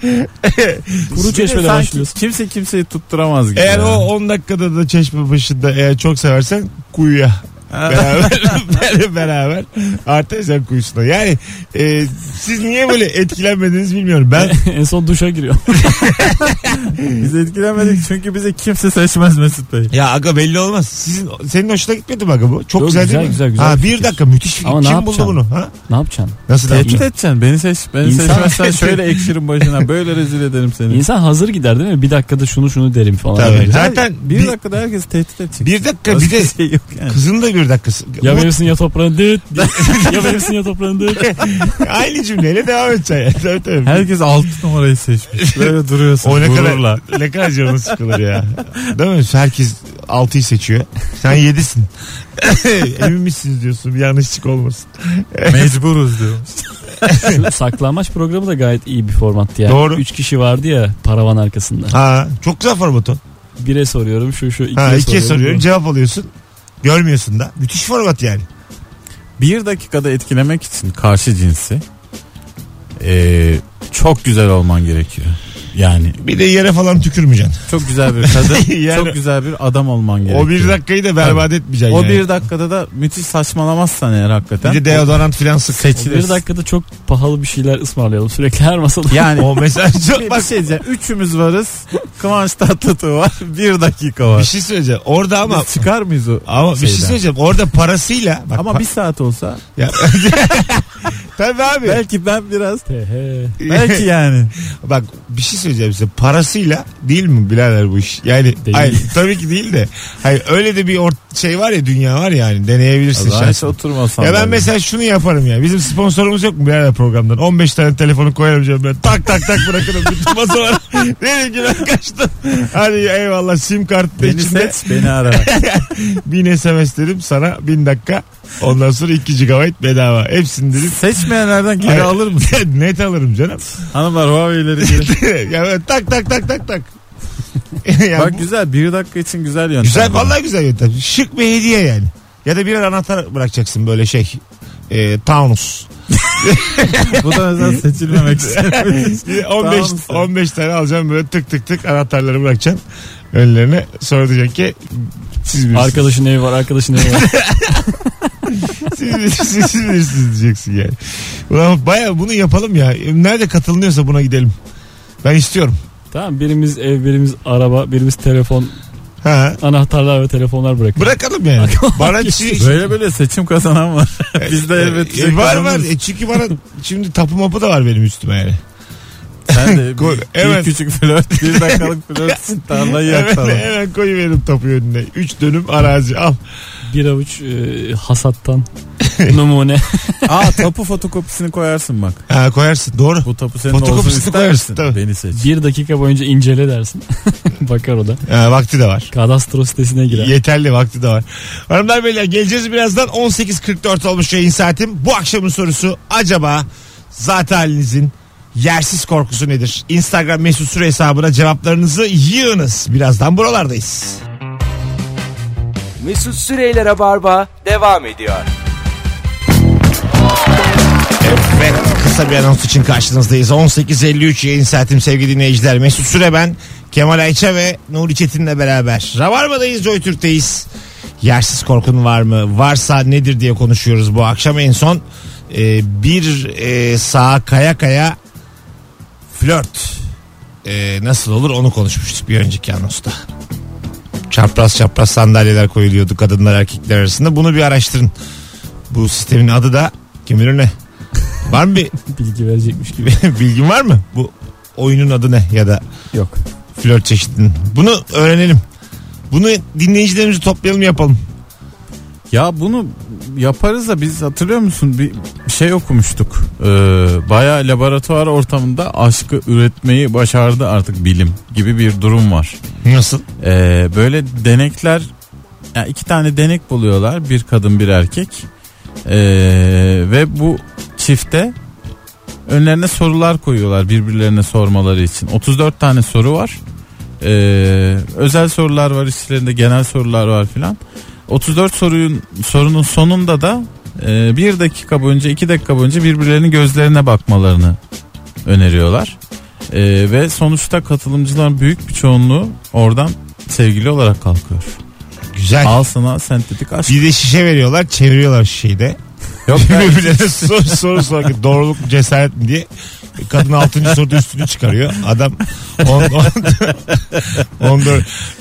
[SPEAKER 3] Kuru çeşmede
[SPEAKER 4] Sanki
[SPEAKER 3] başlıyorsun.
[SPEAKER 4] Kimse kimseyi tutturamaz gibi.
[SPEAKER 2] Eğer
[SPEAKER 4] ya.
[SPEAKER 2] o 10 dakikada da çeşme başında eğer çok seversen kuyuya.
[SPEAKER 4] Ha.
[SPEAKER 2] beraber beraber- beraber artezyen kuyusuna. Yani e, siz niye böyle etkilenmediniz bilmiyorum. Ben
[SPEAKER 3] en son duşa giriyor.
[SPEAKER 4] Biz etkilenmedik çünkü bize kimse seçmez Mesut Bey.
[SPEAKER 2] ya aga belli olmaz. Sizin senin hoşuna gitmedi mi aga bu? Çok
[SPEAKER 3] Yok,
[SPEAKER 2] güzel,
[SPEAKER 3] güzel,
[SPEAKER 2] değil mi?
[SPEAKER 3] güzel, güzel
[SPEAKER 2] ha,
[SPEAKER 3] bir
[SPEAKER 2] bir
[SPEAKER 3] fikir.
[SPEAKER 2] dakika müthiş fikir.
[SPEAKER 3] Ama ne
[SPEAKER 2] Kim buldu
[SPEAKER 3] yapacaksın?
[SPEAKER 2] bunu? Ha?
[SPEAKER 3] ne yapacaksın?
[SPEAKER 2] Nasıl ne
[SPEAKER 4] Tehdit
[SPEAKER 2] yapacaksın?
[SPEAKER 4] edeceksin. Beni seç. Beni
[SPEAKER 3] İnsan-
[SPEAKER 4] seçmezsen şöyle ekşirim başına. Böyle rezil ederim seni.
[SPEAKER 3] İnsan hazır gider değil mi? Bir dakikada şunu şunu derim falan.
[SPEAKER 2] Tabii.
[SPEAKER 3] Böyle.
[SPEAKER 2] Zaten
[SPEAKER 4] bir,
[SPEAKER 2] bir,
[SPEAKER 4] dakikada herkes tehdit edecek.
[SPEAKER 2] bir dakika bir de
[SPEAKER 4] Başka şey yok yani.
[SPEAKER 2] kızın da bir dakikası.
[SPEAKER 3] Ya
[SPEAKER 2] Bu-
[SPEAKER 3] benimsin ya toprağın dıt. ya benimsin ya toprağın dıt.
[SPEAKER 2] Aynı cümleyle devam edeceksin. Tabii tabii.
[SPEAKER 4] Herkes 6 numarayı seçmiş. Böyle duruyorsun
[SPEAKER 2] O ne
[SPEAKER 4] gururla.
[SPEAKER 2] kadar, ne kadar canın sıkılır ya. Değil mi? Herkes 6'yı seçiyor. Sen 7'sin. Emin misiniz diyorsun bir yanlışlık olmasın.
[SPEAKER 4] Mecburuz diyormuş.
[SPEAKER 3] Şu saklanmaç programı da gayet iyi bir formattı yani.
[SPEAKER 2] Doğru.
[SPEAKER 3] Üç kişi vardı ya paravan arkasında.
[SPEAKER 2] Ha, çok güzel format o.
[SPEAKER 3] Bire soruyorum şu şu. Ikiye
[SPEAKER 2] Ha, ikiye
[SPEAKER 3] soruyorum.
[SPEAKER 2] soruyorum cevap alıyorsun. Görmüyorsun da. Müthiş format yani.
[SPEAKER 4] Bir dakikada etkilemek için karşı cinsi eee, çok güzel olman gerekiyor. Yani
[SPEAKER 2] Bir de yere falan tükürmeyeceksin.
[SPEAKER 4] çok güzel bir kadın,
[SPEAKER 2] Yani-
[SPEAKER 4] çok güzel bir adam olman gerekiyor.
[SPEAKER 2] O bir dakikayı da berbat etmeyeceksin.
[SPEAKER 4] O
[SPEAKER 2] yani.
[SPEAKER 4] bir dakikada da müthiş saçmalamazsan eğer
[SPEAKER 2] Bir
[SPEAKER 4] hakikaten.
[SPEAKER 2] de deodorant filan sık.
[SPEAKER 4] seçilir.
[SPEAKER 3] Bir dakikada çok pahalı bir şeyler ısmarlayalım sürekli her masada.
[SPEAKER 4] Yani
[SPEAKER 2] O mesela
[SPEAKER 4] bir,
[SPEAKER 2] çok
[SPEAKER 4] bir
[SPEAKER 2] bak.
[SPEAKER 4] şey diyeceğim. Üçümüz varız. Kıvanç Tatlıtuğ var. Bir dakika
[SPEAKER 2] Bir
[SPEAKER 4] var.
[SPEAKER 2] şey söyleyeceğim. Orada ama
[SPEAKER 4] Biz çıkar mıyız o
[SPEAKER 2] ama bir şey
[SPEAKER 4] şeyden?
[SPEAKER 2] söyleyeceğim. Orada parasıyla bak,
[SPEAKER 4] Ama
[SPEAKER 2] pa-
[SPEAKER 4] bir saat olsa
[SPEAKER 2] Ya- Tabii abi.
[SPEAKER 4] belki ben biraz
[SPEAKER 3] Tehe.
[SPEAKER 4] belki yani.
[SPEAKER 2] Bak bir şey söyleyeceğim size. Parasıyla değil mi birader bu iş? Yani
[SPEAKER 3] Değil.
[SPEAKER 2] hayır, tabii ki değil de. Hayır öyle de bir ort- şey var ya dünya var ya hani deneyebilirsin
[SPEAKER 4] Allah hiç
[SPEAKER 2] şansını.
[SPEAKER 4] oturmasam.
[SPEAKER 2] Ya ben mesela şunu yaparım ya. Bizim sponsorumuz yok mu birader programdan? 15 tane telefonu koyarım cebime. Tak tak tak bırakırım. Bütün masa var. Dedim ki ben kaçtım. Hadi eyvallah sim kartı da
[SPEAKER 4] beni
[SPEAKER 2] içinde.
[SPEAKER 4] seç beni ara.
[SPEAKER 2] 1000 SMS dedim sana 1000 dakika. Ondan sonra 2 GB bedava. Hepsini dedim.
[SPEAKER 4] Seçmeyenlerden geri
[SPEAKER 2] Hayır.
[SPEAKER 4] alır mısın?
[SPEAKER 2] Net alırım canım.
[SPEAKER 4] Hanımlar Huawei'leri geri.
[SPEAKER 2] ya böyle tak tak tak tak tak. Ya bu-
[SPEAKER 4] Bak güzel bir dakika için güzel yöntem.
[SPEAKER 2] Güzel vallahi güzel yöntem. Şık bir hediye yani. Ya da birer anahtar bırakacaksın böyle şey. E, Taunus.
[SPEAKER 4] Bu da özel seçilmemek
[SPEAKER 2] 15
[SPEAKER 4] için. Taunus.
[SPEAKER 2] 15 tane alacaksın böyle tık tık tık anahtarları bırakacaksın önlerine. Sonra diyecek ki siz bilirsiniz.
[SPEAKER 3] Arkadaşın evi var arkadaşın evi var.
[SPEAKER 2] Siz, bilirsiniz, siz bilirsiniz diyeceksin yani. Ulan baya bunu yapalım ya. Nerede katılınıyorsa buna gidelim. Ben istiyorum.
[SPEAKER 3] tamam birimiz ev birimiz araba birimiz telefon
[SPEAKER 2] Ha.
[SPEAKER 3] anahtarlar ve telefonlar bırakın.
[SPEAKER 2] Bırakalım yani. Bana çi-
[SPEAKER 4] Böyle böyle seçim kazanan var. Biz de elbet bir
[SPEAKER 2] E,
[SPEAKER 4] şey
[SPEAKER 2] var var.
[SPEAKER 4] kazanırız.
[SPEAKER 2] E, çünkü bana şimdi tapu mapu da var benim üstüme yani.
[SPEAKER 4] Sen de
[SPEAKER 2] Koy-
[SPEAKER 4] bir,
[SPEAKER 2] Evet.
[SPEAKER 4] bir küçük flört, bir dakikalık flört için tarlayı yak
[SPEAKER 2] Hemen,
[SPEAKER 4] sana.
[SPEAKER 2] hemen koyuverim tapuyu önüne. Üç dönüm arazi al.
[SPEAKER 3] Bir avuç e, hasattan numune.
[SPEAKER 4] Aa tapu fotokopisini koyarsın bak.
[SPEAKER 2] Ha, koyarsın doğru.
[SPEAKER 4] Bu tapu senin olsun
[SPEAKER 2] Fotokopisini
[SPEAKER 4] ister
[SPEAKER 2] koyarsın,
[SPEAKER 4] misin?
[SPEAKER 2] tabii.
[SPEAKER 4] Beni seç.
[SPEAKER 3] bir dakika boyunca incele dersin. Bakar o da.
[SPEAKER 2] Ha, vakti de var.
[SPEAKER 3] Kadastro sitesine girer.
[SPEAKER 2] Yeterli vakti de var. Hanımlar beyler geleceğiz birazdan. 18.44 olmuş yayın saatim. Bu akşamın sorusu acaba zaten halinizin yersiz korkusu nedir? Instagram mesut süre hesabına cevaplarınızı yığınız. Birazdan buralardayız.
[SPEAKER 1] Mesut Süreyler'e barba devam ediyor.
[SPEAKER 2] Evet kısa bir anons için karşınızdayız. 18.53 yayın saatim sevgili dinleyiciler. Mesut Süre ben. Kemal Ayça ve Nuri Çetin'le beraber. Rabarba'dayız, JoyTürk'teyiz. Yersiz korkun var mı? Varsa nedir diye konuşuyoruz bu akşam. En son e, bir e, sağa kaya kaya flört e, nasıl olur onu konuşmuştuk bir önceki anonsta. Çapraz çapraz sandalyeler koyuluyordu kadınlar erkekler arasında. Bunu bir araştırın. Bu sistemin adı da kim bilir ne? Var mı bir
[SPEAKER 3] Bilgi verecekmiş gibi.
[SPEAKER 2] bilgin var mı? Bu oyunun adı ne ya da
[SPEAKER 3] Yok.
[SPEAKER 2] flört çeşidinin? Bunu öğrenelim. Bunu dinleyicilerimizi toplayalım yapalım.
[SPEAKER 4] Ya bunu yaparız da biz hatırlıyor musun bir bir şey okumuştuk. Ee, bayağı laboratuvar ortamında aşkı üretmeyi başardı artık bilim gibi bir durum var.
[SPEAKER 2] Nasıl?
[SPEAKER 4] Ee, böyle denekler yani iki tane denek buluyorlar bir kadın bir erkek Ee, ve bu çifte önlerine sorular koyuyorlar birbirlerine sormaları için. 34 tane soru var. Ee, özel sorular var işlerinde genel sorular var filan. 34 sorunun sorunun sonunda da e, bir dakika boyunca iki dakika boyunca birbirlerinin gözlerine bakmalarını öneriyorlar. Ee, ve sonuçta katılımcıların büyük bir çoğunluğu oradan sevgili olarak kalkıyor.
[SPEAKER 2] Güzel.
[SPEAKER 4] Al sana sentetik aşk.
[SPEAKER 2] Bir de şişe veriyorlar çeviriyorlar şişeyi de.
[SPEAKER 4] Yok ben-
[SPEAKER 2] Birbirlerine soru soru soru ki doğruluk mu, cesaret mi diye. Kadın 6. soruda üstünü çıkarıyor. Adam 14.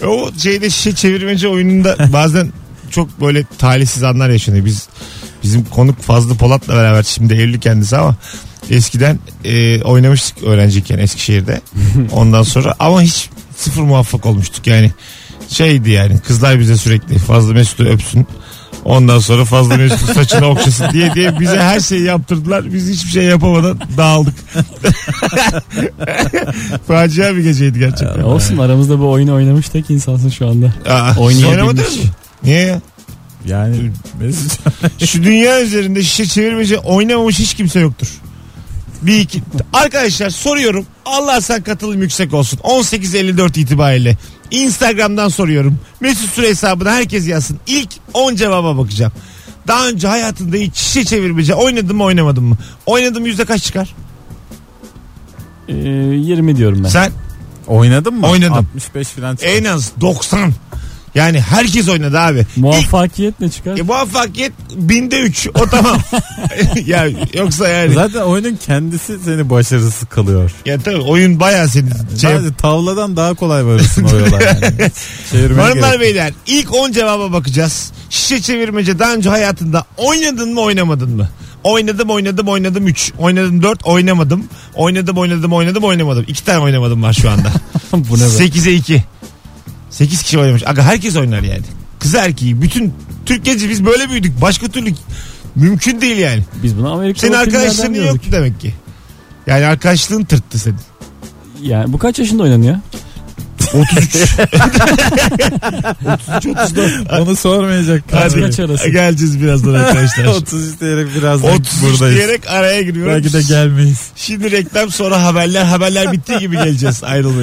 [SPEAKER 2] E, O şeyde şişe çevirmece oyununda bazen çok böyle talihsiz anlar yaşanıyor. Biz bizim konuk Fazlı Polat'la beraber şimdi evli kendisi ama eskiden e, oynamıştık öğrenciyken Eskişehir'de. Ondan sonra ama hiç sıfır muvaffak olmuştuk yani. Şeydi yani kızlar bize sürekli Fazlı Mesut'u öpsün. Ondan sonra Fazlı Mesut'un saçını okşasın diye diye bize her şeyi yaptırdılar. Biz hiçbir şey yapamadan dağıldık. Facia bir geceydi gerçekten.
[SPEAKER 3] Ya olsun aramızda bu oyunu oynamıştık insansın şu anda.
[SPEAKER 2] Aa,
[SPEAKER 3] Oynayabilmiş.
[SPEAKER 2] oynamadınız mı? Niye ya?
[SPEAKER 4] yani Mesut
[SPEAKER 2] Şu dünya üzerinde şişe çevirmece oynamamış hiç kimse yoktur. Bir iki. Arkadaşlar soruyorum. Allah sen katılım yüksek olsun. 18.54 itibariyle. Instagram'dan soruyorum. Mesut Süre hesabına herkes yazsın. İlk 10 cevaba bakacağım. Daha önce hayatında hiç şişe çevirmece oynadın mı oynamadın mı? Oynadım yüzde kaç çıkar?
[SPEAKER 3] Ee, 20 diyorum ben.
[SPEAKER 2] Sen
[SPEAKER 4] oynadın mı?
[SPEAKER 2] Oynadım.
[SPEAKER 4] 65 falan çıktı.
[SPEAKER 2] en az 90. Yani herkes oynadı abi. İlk
[SPEAKER 3] Muvaffakiyet ne çıkar?
[SPEAKER 2] e, muvaffakiyet binde 3. O tamam. ya yoksa yani.
[SPEAKER 4] Zaten oyunun kendisi seni başarısız kalıyor.
[SPEAKER 2] Ya tabii oyun bayağı seni şey
[SPEAKER 4] Sadece tavladan daha kolay varırsın o yola yani. Çevirmeye
[SPEAKER 2] Hanımlar
[SPEAKER 4] gerek-
[SPEAKER 2] beyler ilk 10 cevaba bakacağız. Şişe çevirmece daha önce hayatında oynadın mı oynamadın mı? Oynadım oynadım oynadım 3. Oynadım 4 oynamadım. Oynadım oynadım oynadım oynamadım. 2 tane oynamadım var şu anda.
[SPEAKER 3] bu ne be?
[SPEAKER 2] 8'e 2. 8 kişi oynamış. Aga herkes oynar yani. Kız erkeği bütün Türkiye'ci biz böyle büyüdük. Başka türlü mümkün değil yani.
[SPEAKER 3] Biz bunu Amerika'da
[SPEAKER 2] Senin arkadaşların yok demek ki. Yani arkadaşlığın tırttı senin.
[SPEAKER 3] Yani bu kaç yaşında oynanıyor?
[SPEAKER 2] 33. 33 34.
[SPEAKER 4] Onu sormayacak.
[SPEAKER 2] Hadi.
[SPEAKER 3] kaç arası?
[SPEAKER 2] Geleceğiz birazdan arkadaşlar.
[SPEAKER 4] 30 diyerek birazdan
[SPEAKER 2] 30
[SPEAKER 4] buradayız.
[SPEAKER 2] diyerek araya giriyoruz.
[SPEAKER 4] Belki de gelmeyiz.
[SPEAKER 2] Şimdi reklam sonra haberler. Haberler bittiği gibi geleceğiz. Ayrılmayın.